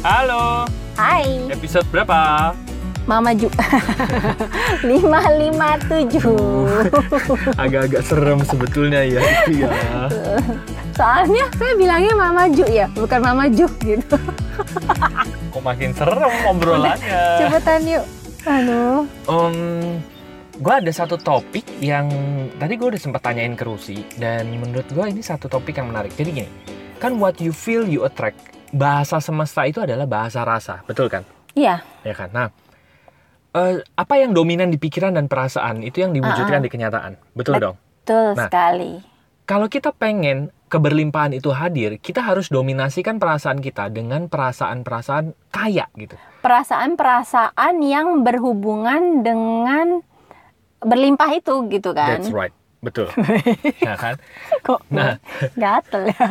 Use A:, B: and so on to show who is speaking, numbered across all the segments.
A: Halo,
B: Hai,
A: episode berapa?
B: Mama Ju. 557.
A: Agak-agak serem sebetulnya ya itu ya.
B: Soalnya saya bilangnya Mama Ju ya, bukan Mama Ju gitu.
A: Kok makin serem obrolannya?
B: Cepetan yuk. Aduh.
A: Em, gue ada satu topik yang tadi gue udah sempat tanyain ke Rusi dan menurut gue ini satu topik yang menarik. Jadi gini, kan what you feel you attract. Bahasa semesta itu adalah bahasa rasa, betul kan?
B: Iya,
A: Ya kan. Nah, eh, apa yang dominan di pikiran dan perasaan itu yang diwujudkan
B: Ah,
A: di kenyataan, betul
B: Bet-
A: dong?
B: betul
A: Nah.
B: sekali.
A: kalau kita pengen keberlimpahan itu hadir, kita harus dominasikan perasaan kita dengan perasaan-perasaan kaya gitu.
B: Perasaan-perasaan yang berhubungan dengan berlimpah itu gitu kan.
A: That's right. Betul. ya kan?
B: Kok
A: Nah.
B: gatel ya.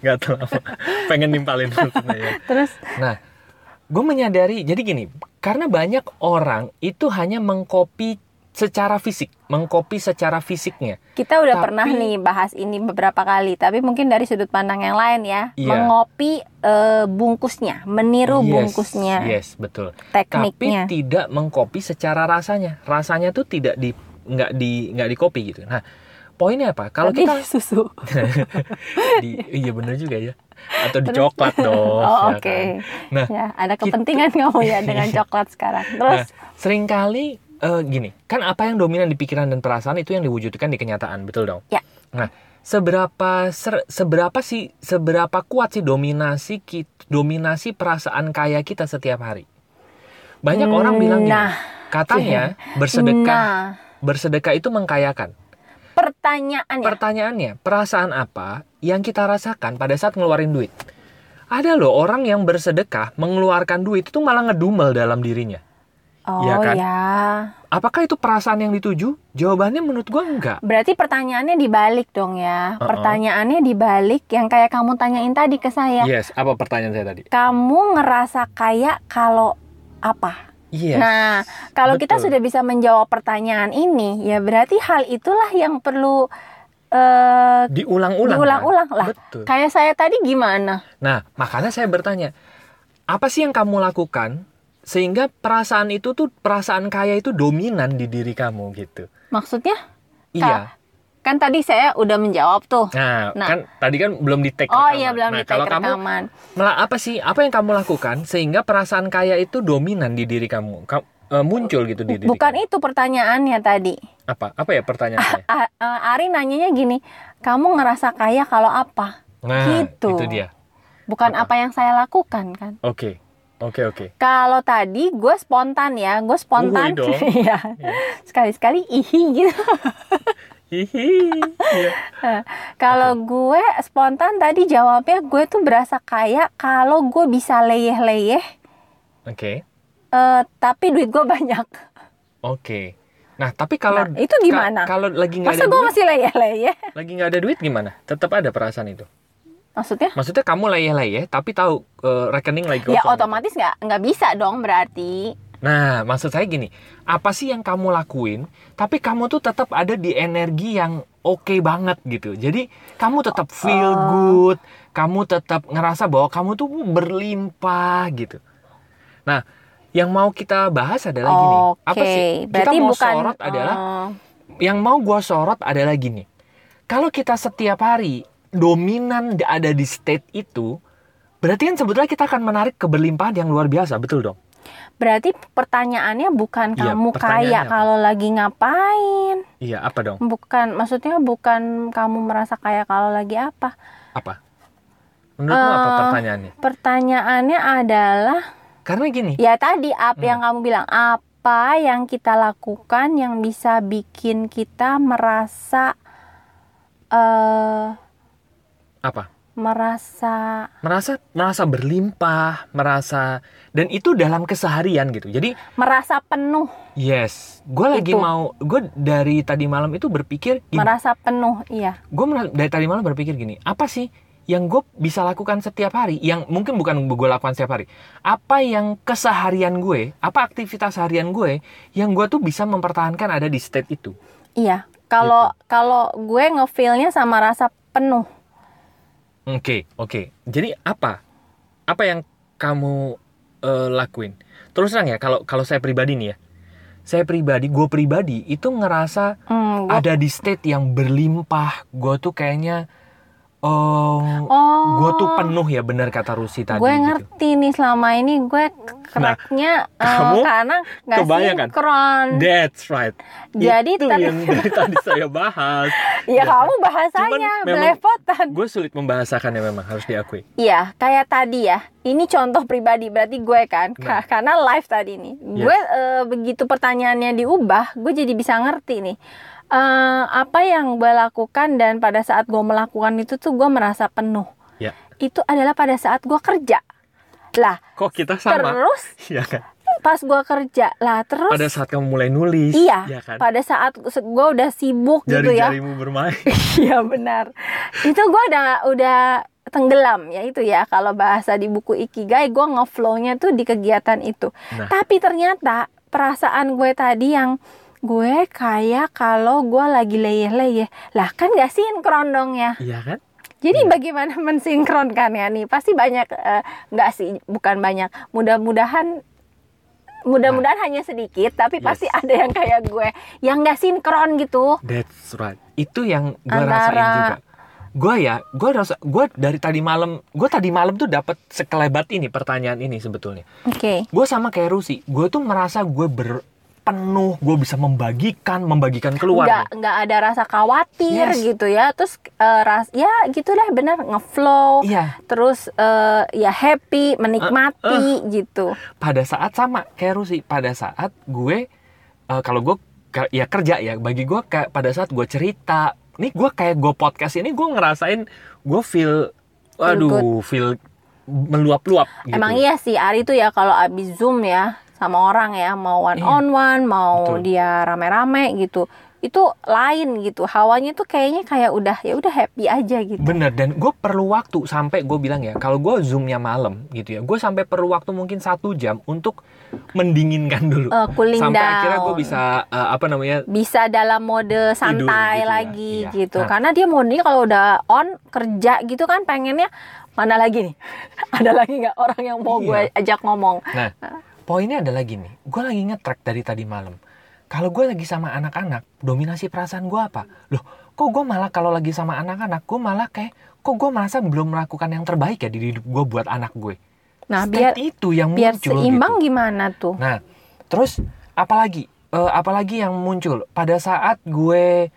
A: Gak tahu apa. Pengen nimpalin maksudnya ya.
B: Terus
A: Nah, gue menyadari, jadi gini, karena banyak orang itu hanya mengcopy secara fisik, mengcopy secara fisiknya.
B: Kita udah
A: Tapi-
B: pernah nih bahas ini beberapa kali, tapi mungkin dari sudut pandang yang lain ya,
A: Iya.
B: mengopi eh, bungkusnya, meniru
A: Yes,
B: bungkusnya,
A: Yes, betul.
B: tekniknya.
A: tapi tidak mengcopy secara rasanya rasanya tuh tidak di nggak di nggak di copy gitu nah poinnya apa kalau
B: Tapi
A: kita
B: susu.
A: di, iya bener juga ya atau di coklat dong
B: oh,
A: ya
B: oke.
A: kan? Nah,
B: ya, ada
A: kita- Nah,
B: kepentingan kamu ya dengan coklat sekarang. Terus
A: seringkali eh, gini kan apa yang dominan di pikiran dan perasaan itu yang diwujudkan di kenyataan betul dong
B: Ya.
A: nah seberapa ser- seberapa sih seberapa kuat sih dominasi kit- dominasi perasaan kaya kita setiap hari banyak orang bilang gini,
B: Nah.
A: katanya bersedekah
B: nah,
A: bersedekah itu mengkayakan
B: pertanyaannya
A: Pertanyaannya, perasaan apa yang kita rasakan pada saat ngeluarin duit? Ada loh orang yang bersedekah mengeluarkan duit itu malah ngedumel dalam dirinya.
B: Oh
A: Iya
B: ya,
A: kan? Apakah itu perasaan yang dituju? Jawabannya menurut gua enggak.
B: Berarti pertanyaannya dibalik dong ya.
A: Uh-uh.
B: Pertanyaannya dibalik yang kayak kamu tanyain tadi ke saya.
A: Yes, apa pertanyaan saya tadi?
B: Kamu ngerasa kaya kalau apa?
A: Yes.
B: Nah, kalau kita
A: Betul.
B: sudah bisa menjawab pertanyaan ini, ya berarti hal itulah yang perlu eh
A: diulang-ulang.
B: diulang-ulang
A: kan?
B: lah.
A: Betul.
B: Kayak saya tadi gimana?
A: Nah, makanya saya bertanya, apa sih yang kamu lakukan sehingga perasaan itu tuh perasaan kaya itu dominan di diri kamu gitu?
B: Maksudnya
A: Iya.
B: kan tadi saya udah menjawab tuh.
A: Nah,
B: Nah.
A: kan tadi kan belum di take
B: Oh
A: rekaman.
B: iya belum
A: nah,
B: di
A: kalau
B: take
A: kamu
B: rekaman.
A: Mela- apa sih apa yang kamu lakukan sehingga perasaan kaya itu dominan di diri kamu Ka- eh, muncul gitu di diri
B: Bukan
A: kamu.
B: itu pertanyaannya tadi.
A: apa apa ya pertanyaannya
B: A- eh, Ari nanyanya gini, kamu ngerasa kaya kalau apa?
A: nah
B: gitu.
A: itu dia
B: Bukan
A: Apa?
B: apa yang saya lakukan kan?
A: oke oke oke
B: Kalau tadi gue spontan ya, gue spontan.
A: Uhuy dong.
B: Iya. Sekali-sekali ihi gitu.
A: hihi Iya.
B: Kalau gue spontan tadi jawabnya gue tuh berasa kaya kalau gue bisa leyeh-leyeh
A: oke
B: eh, tapi duit gue banyak.
A: oke nah tapi kalau
B: Nah, itu gimana?
A: ka- kalau lagi nggak
B: Masa
A: ada
B: gue
A: duit
B: masih leyeh-leyeh?
A: lagi nggak ada duit gimana tetap ada perasaan itu
B: Maksudnya?
A: maksudnya kamu layeh-layeh tapi tahu eh, rekening lagi
B: Ya
A: kosong
B: otomatis nggak nggak bisa dong berarti.
A: Nah, maksud saya gini, apa sih yang kamu lakuin, tapi kamu tuh tetap ada di energi yang oke banget gitu. Jadi, kamu tetap feel
B: Oh.
A: good, kamu tetap ngerasa bahwa kamu tuh berlimpah gitu. Nah, yang mau kita bahas adalah gini.
B: Oke.
A: Apa sih?
B: Berarti
A: kita mau
B: bukan.
A: sorot adalah
B: eh,
A: yang mau gua sorot adalah gini. Kalau kita setiap hari dominan ada di state itu, berarti kan sebetulnya kita akan menarik keberlimpahan yang luar biasa, betul dong?
B: berarti pertanyaannya bukan
A: Iya,
B: kamu
A: pertanyaannya
B: kaya
A: apa?
B: kalau lagi ngapain?
A: Iya, apa dong?
B: Bukan, maksudnya bukan kamu merasa kaya kalau lagi apa?
A: apa? Menurutmu apa
B: Eh,
A: pertanyaannya?
B: Pertanyaannya adalah
A: Karena gini,
B: Ya tadi apa
A: Hmm.
B: yang kamu bilang apa yang kita lakukan yang bisa bikin kita merasa eh
A: apa?
B: merasa
A: Merasa merasa berlimpah, merasa dan itu dalam keseharian gitu. Jadi,
B: merasa penuh,
A: yes, gue lagi
B: Itu.
A: mau gue dari tadi malam itu berpikir gini.
B: merasa penuh, iya.
A: Gue dari tadi malam berpikir gini, apa sih yang gue bisa lakukan setiap hari? Yang mungkin bukan gue lakukan setiap hari. Apa yang keseharian gue, apa aktivitas harian gue yang gue tuh bisa mempertahankan ada di state itu.
B: Iya. Kalau
A: Gitu.
B: kalau gue ngefeelnya sama rasa penuh.
A: Oke, oke. Jadi apa? Apa yang kamu eh, lakuin terus terang ya kalau kalau saya pribadi nih ya saya pribadi gue pribadi itu ngerasa
B: Hmm, gua-
A: ada di state yang berlimpah gue tuh kayaknya eh
B: oh,
A: gue tuh penuh ya benar kata Rusi tadi
B: gue
A: gitu. Nah,
B: ngerti nih selama ini gue cracknya eh,
A: kamu kan?
B: karena nggak
A: kebanyakan.
B: sinkron.
A: That's right.
B: Jadi
A: itu
B: ter-
A: yang dari tadi saya bahas. Iya.
B: ya kamu bahasanya
A: Cuman memang-
B: belepotan.
A: Gue sulit membahasakannya memang harus diakui.
B: Iya, kayak tadi ya. Ini contoh pribadi berarti gue
A: Nah.
B: kan,
A: Iya.
B: ka- karena live tadi nih.
A: Yes.
B: Gue eh, begitu pertanyaannya diubah, gue jadi bisa ngerti nih. Eh, apa yang gue lakukan dan pada saat gue melakukan itu tuh gue merasa penuh.
A: Ya.
B: Itu adalah pada saat gue kerja. Lah,
A: Kok kita sama?
B: terus
A: Iya kan.
B: pas gue kerja, lah terus
A: Pada saat kamu mulai nulis,
B: Iya,
A: ya kan.
B: pada saat gue udah sibuk gitu ya.
A: Jari-jarimu bermain.
B: Iya benar. Itu gue udah udah tenggelam ya itu ya kalau bahasa di buku ikigai gue ngeflownya tuh di kegiatan itu.
A: Nah.
B: Tapi ternyata perasaan gue tadi yang gue kayak kalau gue lagi leyeh-leyeh lah kan gak sinkron dong ya.
A: Iya kan?
B: Jadi bagaimana mensinkronkan ya nih? Pasti banyak eh, nggak sih bukan banyak. Mudah-mudahan mudah-mudahan hanya sedikit tapi
A: Nah. Yes.
B: pasti ada yang kayak gue yang nggak sinkron gitu.
A: That's right. Itu yang gue
B: Antara-
A: rasain juga. Gue ya, gue rasa gue dari tadi malam, gue tadi malam tuh dapat sekelebat ini pertanyaan ini sebetulnya.
B: Oke.
A: Gue sama kayak Rusi, gue tuh merasa gue berpenuh, gue bisa membagikan, membagikan keluar.
B: nggak nggak ada rasa khawatir
A: Yes.
B: gitu ya terus eh, ras ya gitulah bener ngeflow
A: Iya.
B: terus eh, ya happy menikmati
A: Eh,
B: gitu
A: pada saat sama kayak Rusi pada saat gue eh, kalau gue ke- ya kerja ya bagi gue kayak pada saat gue cerita nih gue kayak gue podcast ini gue ngerasain gue feel aduh feel meluap-luap gitu
B: emang iya sih Ari tuh ya kalau abis zoom ya sama orang ya mau one
A: Iya.
B: on one mau
A: Betul.
B: dia rame-rame gitu itu lain gitu hawanya tuh kayaknya kayak udah ya udah happy aja gitu
A: bener dan gue perlu waktu sampai gue bilang ya kalau gue zoomnya malam gitu ya gue sampai perlu waktu mungkin satu jam untuk mendinginkan dulu
B: Eh, cooling
A: sampai
B: down
A: akhirnya gue bisa eh, apa namanya
B: bisa dalam mode
A: gitu
B: santai
A: ya,
B: lagi
A: iya.
B: gitu
A: Nah.
B: karena dia mode kalau udah on kerja gitu kan pengennya mana lagi nih ada lagi nggak orang yang mau
A: Iya.
B: gue ajak ngomong
A: Nah, poinnya adalah gini, gue lagi nge-track dari tadi malam. Kalau gue lagi sama anak-anak, dominasi perasaan gue apa? Loh, kok gue malah kalau lagi sama anak-anak, gue malah kayak, kok gue merasa belum melakukan yang terbaik ya di hidup gue buat anak gue.
B: nah biar
A: State itu yang
B: biar
A: muncul
B: seimbang
A: gitu.
B: gimana tuh
A: Nah, terus apalagi, Eh, apalagi yang muncul pada saat gue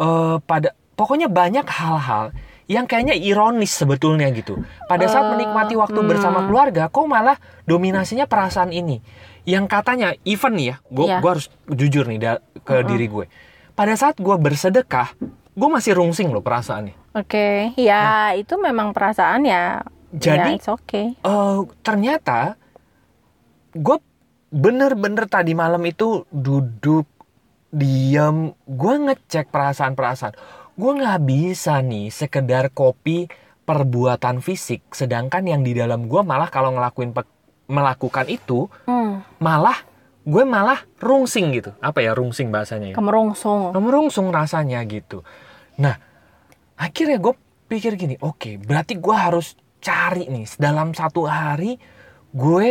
A: eh, pada, pokoknya banyak hal-hal yang kayaknya ironis sebetulnya gitu. Pada saat
B: Eh,
A: menikmati waktu
B: hmm.
A: bersama keluarga, kok malah dominasinya perasaan ini. Yang katanya even nih ya, gue
B: Iya.
A: gua harus jujur nih da- ke
B: Mm-mm.
A: diri gue. Pada saat gue bersedekah, gue masih rungsing loh perasaannya.
B: oke ya itu memang perasaan ya
A: Nah. Jadi
B: ya, it's okay
A: Eh, ternyata gue bener-bener tadi malam itu duduk diam gue ngecek perasaan-perasaan gue nggak bisa nih sekedar kopi perbuatan fisik sedangkan yang di dalam gue malah kalau ngelakuin pe- melakukan itu
B: hmm,
A: malah gue malah rungsing gitu apa ya rungsing bahasanya ya
B: kemerungsung
A: merungsung rasanya gitu. Nah, akhirnya gue pikir gini, oke, berarti gue harus cari nih dalam satu hari gue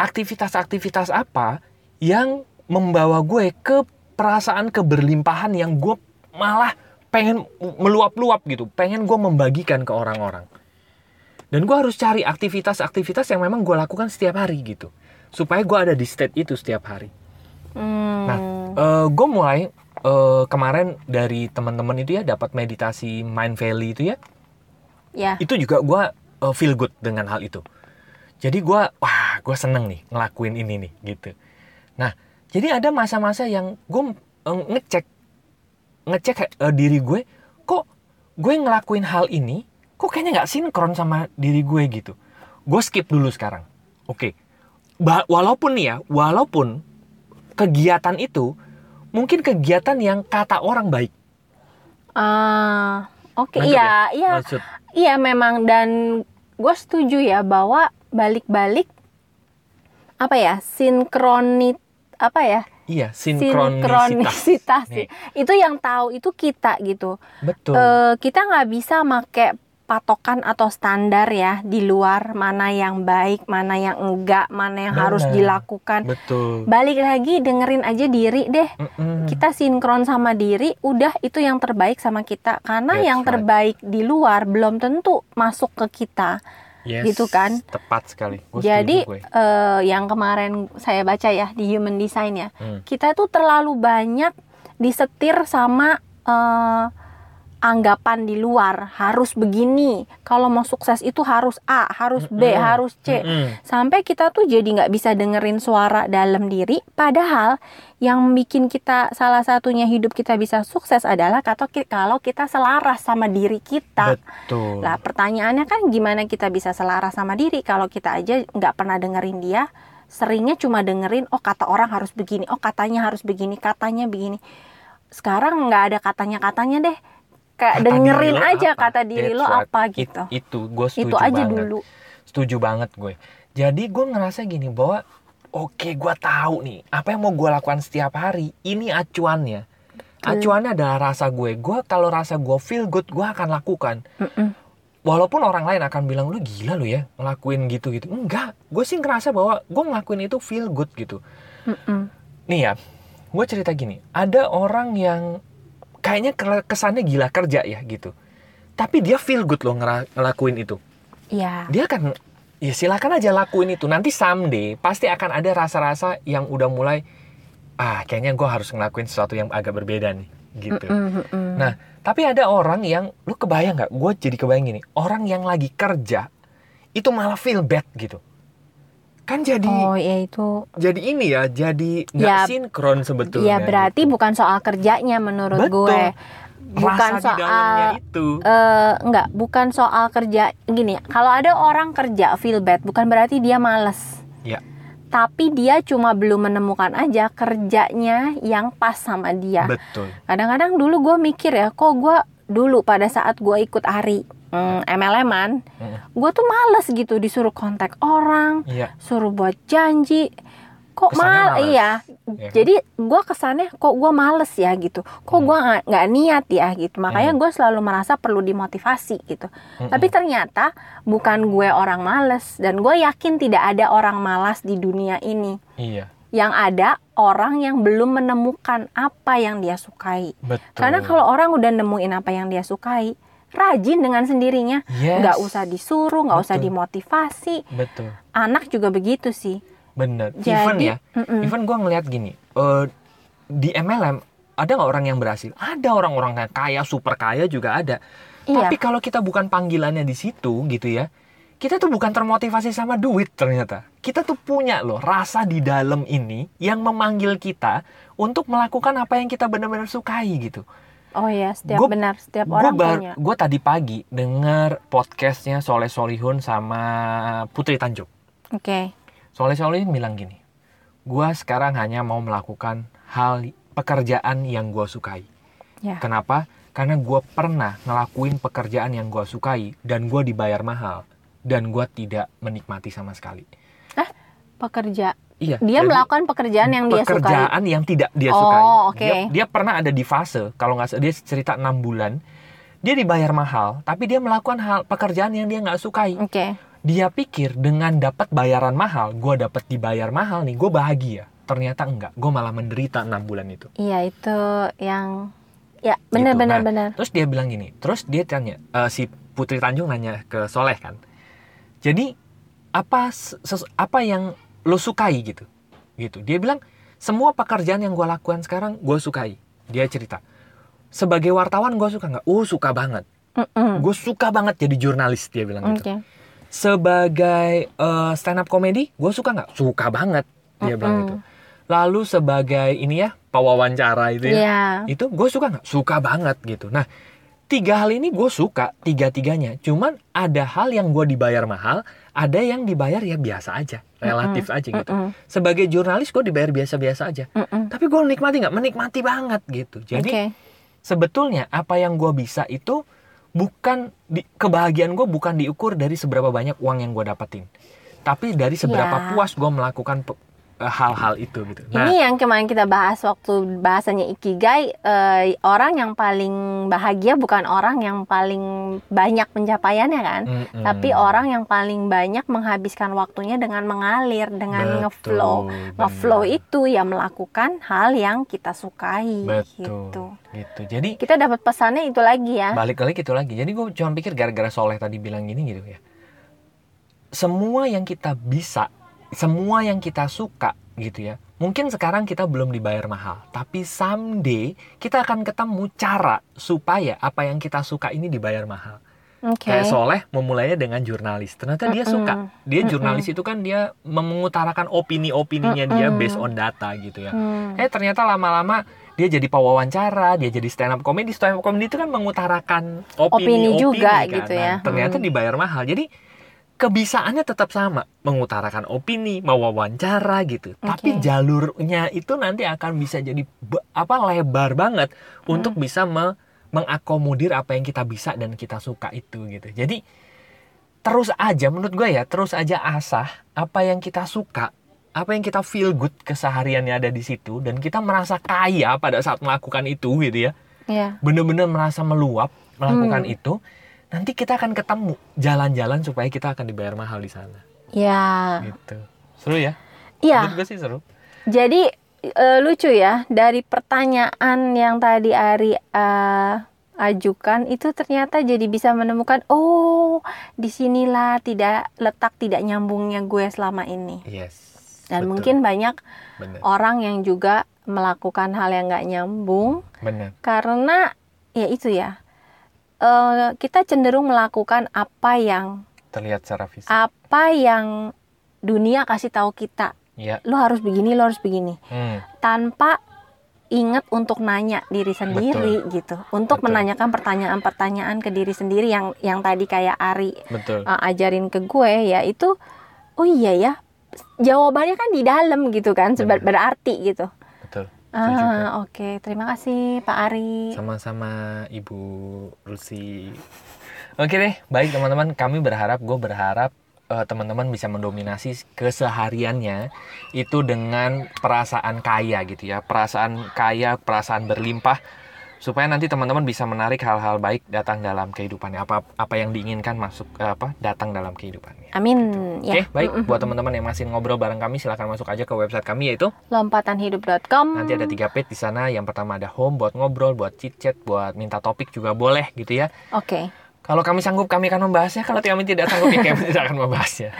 A: aktivitas-aktivitas apa yang membawa gue ke perasaan keberlimpahan yang gue malah pengen meluap-luap gitu, pengen gue membagikan ke orang-orang. Dan gue harus cari aktivitas-aktivitas yang memang gue lakukan setiap hari gitu, supaya gue ada di state itu setiap hari.
B: Hmm,
A: Nah, gue mulai eh, kemarin dari teman-teman itu ya dapat meditasi mind valley itu ya.
B: ya
A: Itu juga gue feel good dengan hal itu. Jadi gue wah gue seneng nih ngelakuin ini nih gitu. Nah jadi ada masa-masa yang gue ngecek ngecek eh, diri gue kok gue ngelakuin hal ini kok kayaknya nggak sinkron sama diri gue gitu. Gue skip dulu sekarang. Oke. Ba- walaupun nih ya walaupun kegiatan itu mungkin kegiatan yang kata orang baik.
B: Ah, oke
A: Nangkep
B: iya iya
A: Maksud
B: Iya memang dan gue setuju ya bahwa balik-balik apa ya sinkronit apa ya
A: iya sinkronisitas.
B: sinkronisitas
A: Nih.
B: itu yang tahu itu kita gitu
A: Betul.
B: Eh, kita nggak bisa make patokan atau standar ya di luar mana yang baik, mana yang enggak, mana yang harus
A: Benar. kan?
B: dilakukan.
A: betul
B: Balik lagi dengerin aja diri deh.
A: Mm-mm.
B: Kita sinkron sama diri, udah itu yang terbaik sama kita. Karena
A: That's
B: yang
A: right.
B: terbaik di luar belum tentu masuk ke kita.
A: Yes,
B: gitu kan.
A: tepat sekali Gua
B: Jadi
A: Oh, setuju gue.
B: eh, yang kemarin saya baca ya di Human Design ya,
A: Hmm.
B: kita tuh terlalu banyak disetir sama eh, anggapan di luar harus begini. Kalau mau sukses itu harus A, harus B,
A: Mm-mm.
B: harus C.
A: Mm-mm.
B: Sampai kita tuh jadi nggak bisa dengerin suara dalam diri. Padahal yang bikin kita salah satunya hidup kita bisa sukses adalah kata ki- kalau kita selaras sama diri kita.
A: betul
B: Lah pertanyaannya kan gimana kita bisa selaras sama diri kalau kita aja nggak pernah dengerin dia seringnya cuma dengerin oh kata orang harus begini oh katanya harus begini katanya begini sekarang nggak ada katanya katanya deh kayak
A: Kata
B: dengerin
A: diri lo
B: aja
A: apa?
B: kata diri
A: That's
B: lo
A: right.
B: apa
A: It-
B: gitu
A: itu gue setuju
B: itu aja
A: banget
B: dulu
A: setuju banget gue jadi gue ngerasa gini bahwa oke gue tahu nih apa yang mau gue lakukan setiap hari ini acuannya acuannya adalah rasa gue gue kalau rasa gue feel good gue akan lakukan
B: Mm-mm.
A: walaupun orang lain akan bilang lu gila lu ya ngelakuin gitu gitu enggak gue sih ngerasa bahwa gue ngelakuin itu feel good gitu
B: Mm-mm.
A: nih ya gue cerita gini ada orang yang kayaknya ke- kesannya gila kerja ya gitu tapi dia feel good loh ngera- ngelakuin itu
B: ya
A: dia kan ya silakan aja lakuin itu nanti someday pasti akan ada rasa-rasa yang udah mulai ah kayaknya gue harus ngelakuin sesuatu yang agak berbeda nih gitu
B: Mm-mm, mm-mm.
A: Nah, tapi ada orang yang lu kebayang nggak gue jadi kebayang gini orang yang lagi kerja itu malah feel bad gitu kan jadi
B: oh ya itu
A: jadi ini ya jadi nggak
B: Ya,
A: sinkron sebetulnya
B: ya berarti
A: gitu.
B: bukan soal kerjanya menurut
A: Betul.
B: gue bukan
A: Rasa di dalamnya
B: soal
A: itu
B: eh enggak, bukan soal kerja gini. Kalau ada orang kerja feel bad, bukan berarti dia males.
A: Ya.
B: Tapi dia cuma belum menemukan aja kerjanya yang pas sama dia.
A: betul
B: Kadang-kadang dulu gue mikir ya, kok gue dulu pada saat gue ikut hari mm, MLM-an,
A: Mm.
B: gue tuh males gitu disuruh kontak orang,
A: iya
B: suruh buat janji. Kok
A: Kesannya
B: mal
A: males.
B: iya.
A: Iya kan?
B: Jadi gue kesannya kok gue males ya gitu. Kok
A: Hmm.
B: gue nggak- nggak niat ya gitu. Makanya gue selalu merasa perlu dimotivasi gitu.
A: Mm-mm.
B: Tapi ternyata bukan gue orang males dan gue yakin tidak ada orang malas di dunia ini.
A: iya
B: Yang ada orang yang belum menemukan apa yang dia sukai.
A: betul
B: Karena kalau orang udah nemuin apa yang dia sukai, rajin dengan sendirinya,
A: Yes,
B: nggak usah disuruh, nggak usah
A: Betul.
B: dimotivasi.
A: betul
B: Anak juga begitu sih.
A: bener even
B: Jadi, hmm.
A: ya
B: mm-mm.
A: even gue ngeliat gini eh, di MLM ada nggak orang yang berhasil ada orang-orang yang kaya super kaya juga ada
B: iya,
A: Tapi kalau kita bukan panggilannya di situ gitu ya, kita tuh bukan termotivasi sama duit ternyata. Kita tuh punya loh rasa di dalam ini yang memanggil kita untuk melakukan apa yang kita benar-benar sukai gitu.
B: oh ya, setiap
A: Gua-
B: benar, setiap
A: Gue
B: orang punya.
A: gue tadi pagi dengar podcastnya Soleh Solihun sama Putri Tanjung.
B: Oke,
A: Soleh Solihun bilang gini, gue sekarang hanya mau melakukan hal pekerjaan yang gue sukai.
B: ya,
A: Kenapa? Karena gue pernah ngelakuin pekerjaan yang gue sukai dan gue dibayar mahal dan gue tidak menikmati sama sekali.
B: pekerja.
A: Iya. jadi
B: Dia melakukan pekerjaan yang dia sukai.
A: pekerjaan yang tidak dia
B: Oh,
A: sukai.
B: oke.
A: Dia, dia pernah ada di fase kalau nggak salah, dia cerita enam bulan dia dibayar mahal tapi dia melakukan hal pekerjaan yang dia nggak sukai.
B: Oke,
A: Dia pikir dengan dapat bayaran mahal, gue dapat dibayar mahal nih, gue bahagia. Ternyata enggak, gue malah menderita enam bulan itu.
B: iya itu yang, ya benar-benar
A: Nah,
B: benar.
A: Terus dia bilang gini, terus dia tanya, eh, si Putri Tanjung nanya ke Soleh kan. Jadi apa ses- apa yang lo sukai gitu? Gitu. Dia bilang semua pekerjaan yang gue lakukan sekarang gue sukai. Dia cerita. Sebagai wartawan gue suka nggak? Oh suka banget.
B: Mm-mm.
A: Gue suka banget jadi jurnalis dia bilang gitu.
B: Oke,
A: Sebagai eh, stand up comedy gue suka nggak? Suka banget dia bilang
B: Mm-mm.
A: gitu. Lalu sebagai ini ya pewawancara itu ya
B: iya,
A: itu gue suka nggak suka banget gitu nah tiga hal ini gue suka tiga tiganya cuman ada hal yang gue dibayar mahal ada yang dibayar ya biasa aja relatif aja gitu
B: Mm-mm.
A: sebagai jurnalis gue dibayar biasa biasa aja
B: Mm-mm.
A: tapi gue nikmati nggak menikmati banget gitu jadi
B: Oke.
A: sebetulnya apa yang gue bisa itu bukan di, kebahagiaan gue bukan diukur dari seberapa banyak uang yang gue dapetin tapi dari seberapa
B: Ya.
A: puas gue melakukan pe- eh, hal-hal itu gitu. Nah,
B: Ini ya, yang kemarin kita bahas waktu bahasanya ikigai eh, orang yang paling bahagia bukan orang yang paling banyak pencapaiannya kan,
A: mm-mm.
B: tapi orang yang paling banyak menghabiskan waktunya dengan mengalir, dengan
A: Betul,
B: ngeflow.
A: benar.
B: Ngeflow itu ya melakukan hal yang kita sukai
A: Betul.
B: gitu.
A: gitu. Jadi
B: Kita dapat pesannya itu lagi ya.
A: balik lagi gitu lagi. Jadi gue cuma pikir gara-gara Soleh tadi bilang gini gitu ya. Semua yang kita bisa, semua yang kita suka gitu ya. Mungkin sekarang kita belum dibayar mahal, tapi someday kita akan ketemu cara supaya apa yang kita suka ini dibayar mahal.
B: Oke.
A: Kayak Soleh memulainya dengan jurnalis. Ternyata dia
B: Mm-mm.
A: suka. Dia
B: Mm-mm.
A: jurnalis itu kan dia mengutarakan opini-opininya dia
B: Mm-mm.
A: based on data gitu ya.
B: Hmm.
A: Eh ternyata lama-lama dia jadi pewawancara, dia jadi stand up comedy. Stand up comedy itu kan mengutarakan opini,
B: Opini juga
A: kan.
B: gitu
A: Nah,
B: ya.
A: ternyata
B: Hmm.
A: dibayar mahal. Jadi kebisaannya tetap sama, mengutarakan opini, mewawancara gitu. Tapi
B: Oke.
A: jalurnya itu nanti akan bisa jadi be- apa lebar banget untuk bisa me- mengakomodir apa yang kita bisa dan kita suka itu gitu. Jadi terus aja menurut gue ya, terus aja asah apa yang kita suka apa yang kita feel good kesehariannya ada di situ dan kita merasa kaya pada saat melakukan itu gitu ya
B: Iya.
A: bener-bener merasa meluap melakukan
B: Hmm.
A: itu nanti kita akan ketemu jalan-jalan supaya kita akan dibayar mahal di sana
B: Iya.
A: gitu seru ya
B: Iya.
A: menurut gue sih seru
B: Jadi eh, lucu ya dari pertanyaan yang tadi Ari eh, ajukan itu ternyata jadi bisa menemukan oh disinilah tidak letak tidak nyambungnya gue selama ini
A: yes
B: dan
A: betul.
B: mungkin Oh. banyak
A: bener
B: orang yang juga melakukan hal yang nggak nyambung
A: bener
B: karena ya itu ya eh, kita cenderung melakukan apa yang
A: terlihat secara fisik
B: Ah. apa yang dunia kasih tahu kita
A: Iya.
B: lo harus begini lo harus begini
A: Hmm,
B: tanpa ingat untuk nanya diri sendiri gitu untuk
A: Betul.
B: menanyakan pertanyaan-pertanyaan ke diri sendiri yang yang tadi kayak Ari
A: betul
B: uh, ajarin ke gue ya itu oh iya ya jawabannya kan di dalam gitu kan seba-
A: Benar.
B: berarti gitu
A: betul
B: ah
A: juga.
B: oke terima kasih Pak Ari
A: sama-sama ibu Rusi oke deh baik teman-teman kami berharap gue berharap eh, teman-teman bisa mendominasi kesehariannya itu dengan perasaan kaya gitu ya perasaan kaya perasaan berlimpah supaya nanti teman-teman bisa menarik hal-hal baik datang dalam kehidupannya apa apa yang diinginkan masuk eh, apa datang dalam kehidupannya
B: amin ya
A: Gitu. Oke, baik.
B: Mm-mm.
A: Buat teman-teman yang masih ngobrol bareng kami, silahkan masuk aja ke website kami yaitu
B: lompatanhidup.com
A: Nanti ada tiga page di sana. Yang pertama ada home buat ngobrol, buat chit chat, buat minta topik juga boleh gitu ya.
B: oke
A: Kalau kami sanggup kami akan membahasnya. Kalau kami tidak sanggup ya kami tidak akan membahasnya.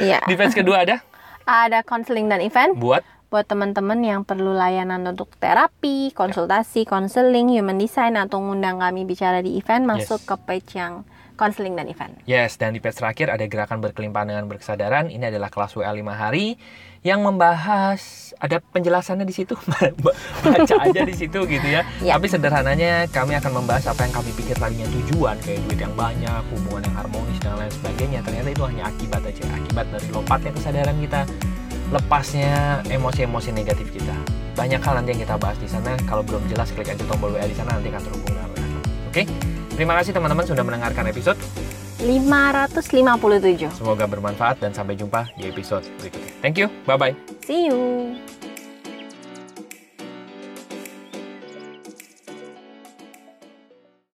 B: iya
A: Di page kedua ada
B: ada konseling dan event
A: buat
B: buat teman-teman yang perlu layanan untuk terapi, konsultasi, konseling, human design atau ngundang kami bicara di event masuk
A: Yes.
B: ke page yang konseling dan event.
A: yes dan di page terakhir ada gerakan berkelimpahan dengan berkesadaran. Ini adalah kelas WA 5 hari yang membahas ada penjelasannya di situ. Baca aja di situ gitu ya.
B: Ya.
A: Tapi sederhananya kami akan membahas apa yang kami pikir tadinya tujuan kayak duit yang banyak, hubungan yang harmonis dan lain sebagainya. Ternyata itu hanya akibat aja, akibat dari lompatnya kesadaran kita, lepasnya emosi-emosi negatif kita. Banyak hal nanti yang kita bahas di sana. Kalau belum jelas klik aja tombol WA di sana nanti akan terhubung dengan kami. Oke. Terima kasih teman-teman sudah mendengarkan episode.
B: 557.
A: Semoga bermanfaat dan sampai jumpa di episode berikutnya. Thank you. Bye bye.
B: See you.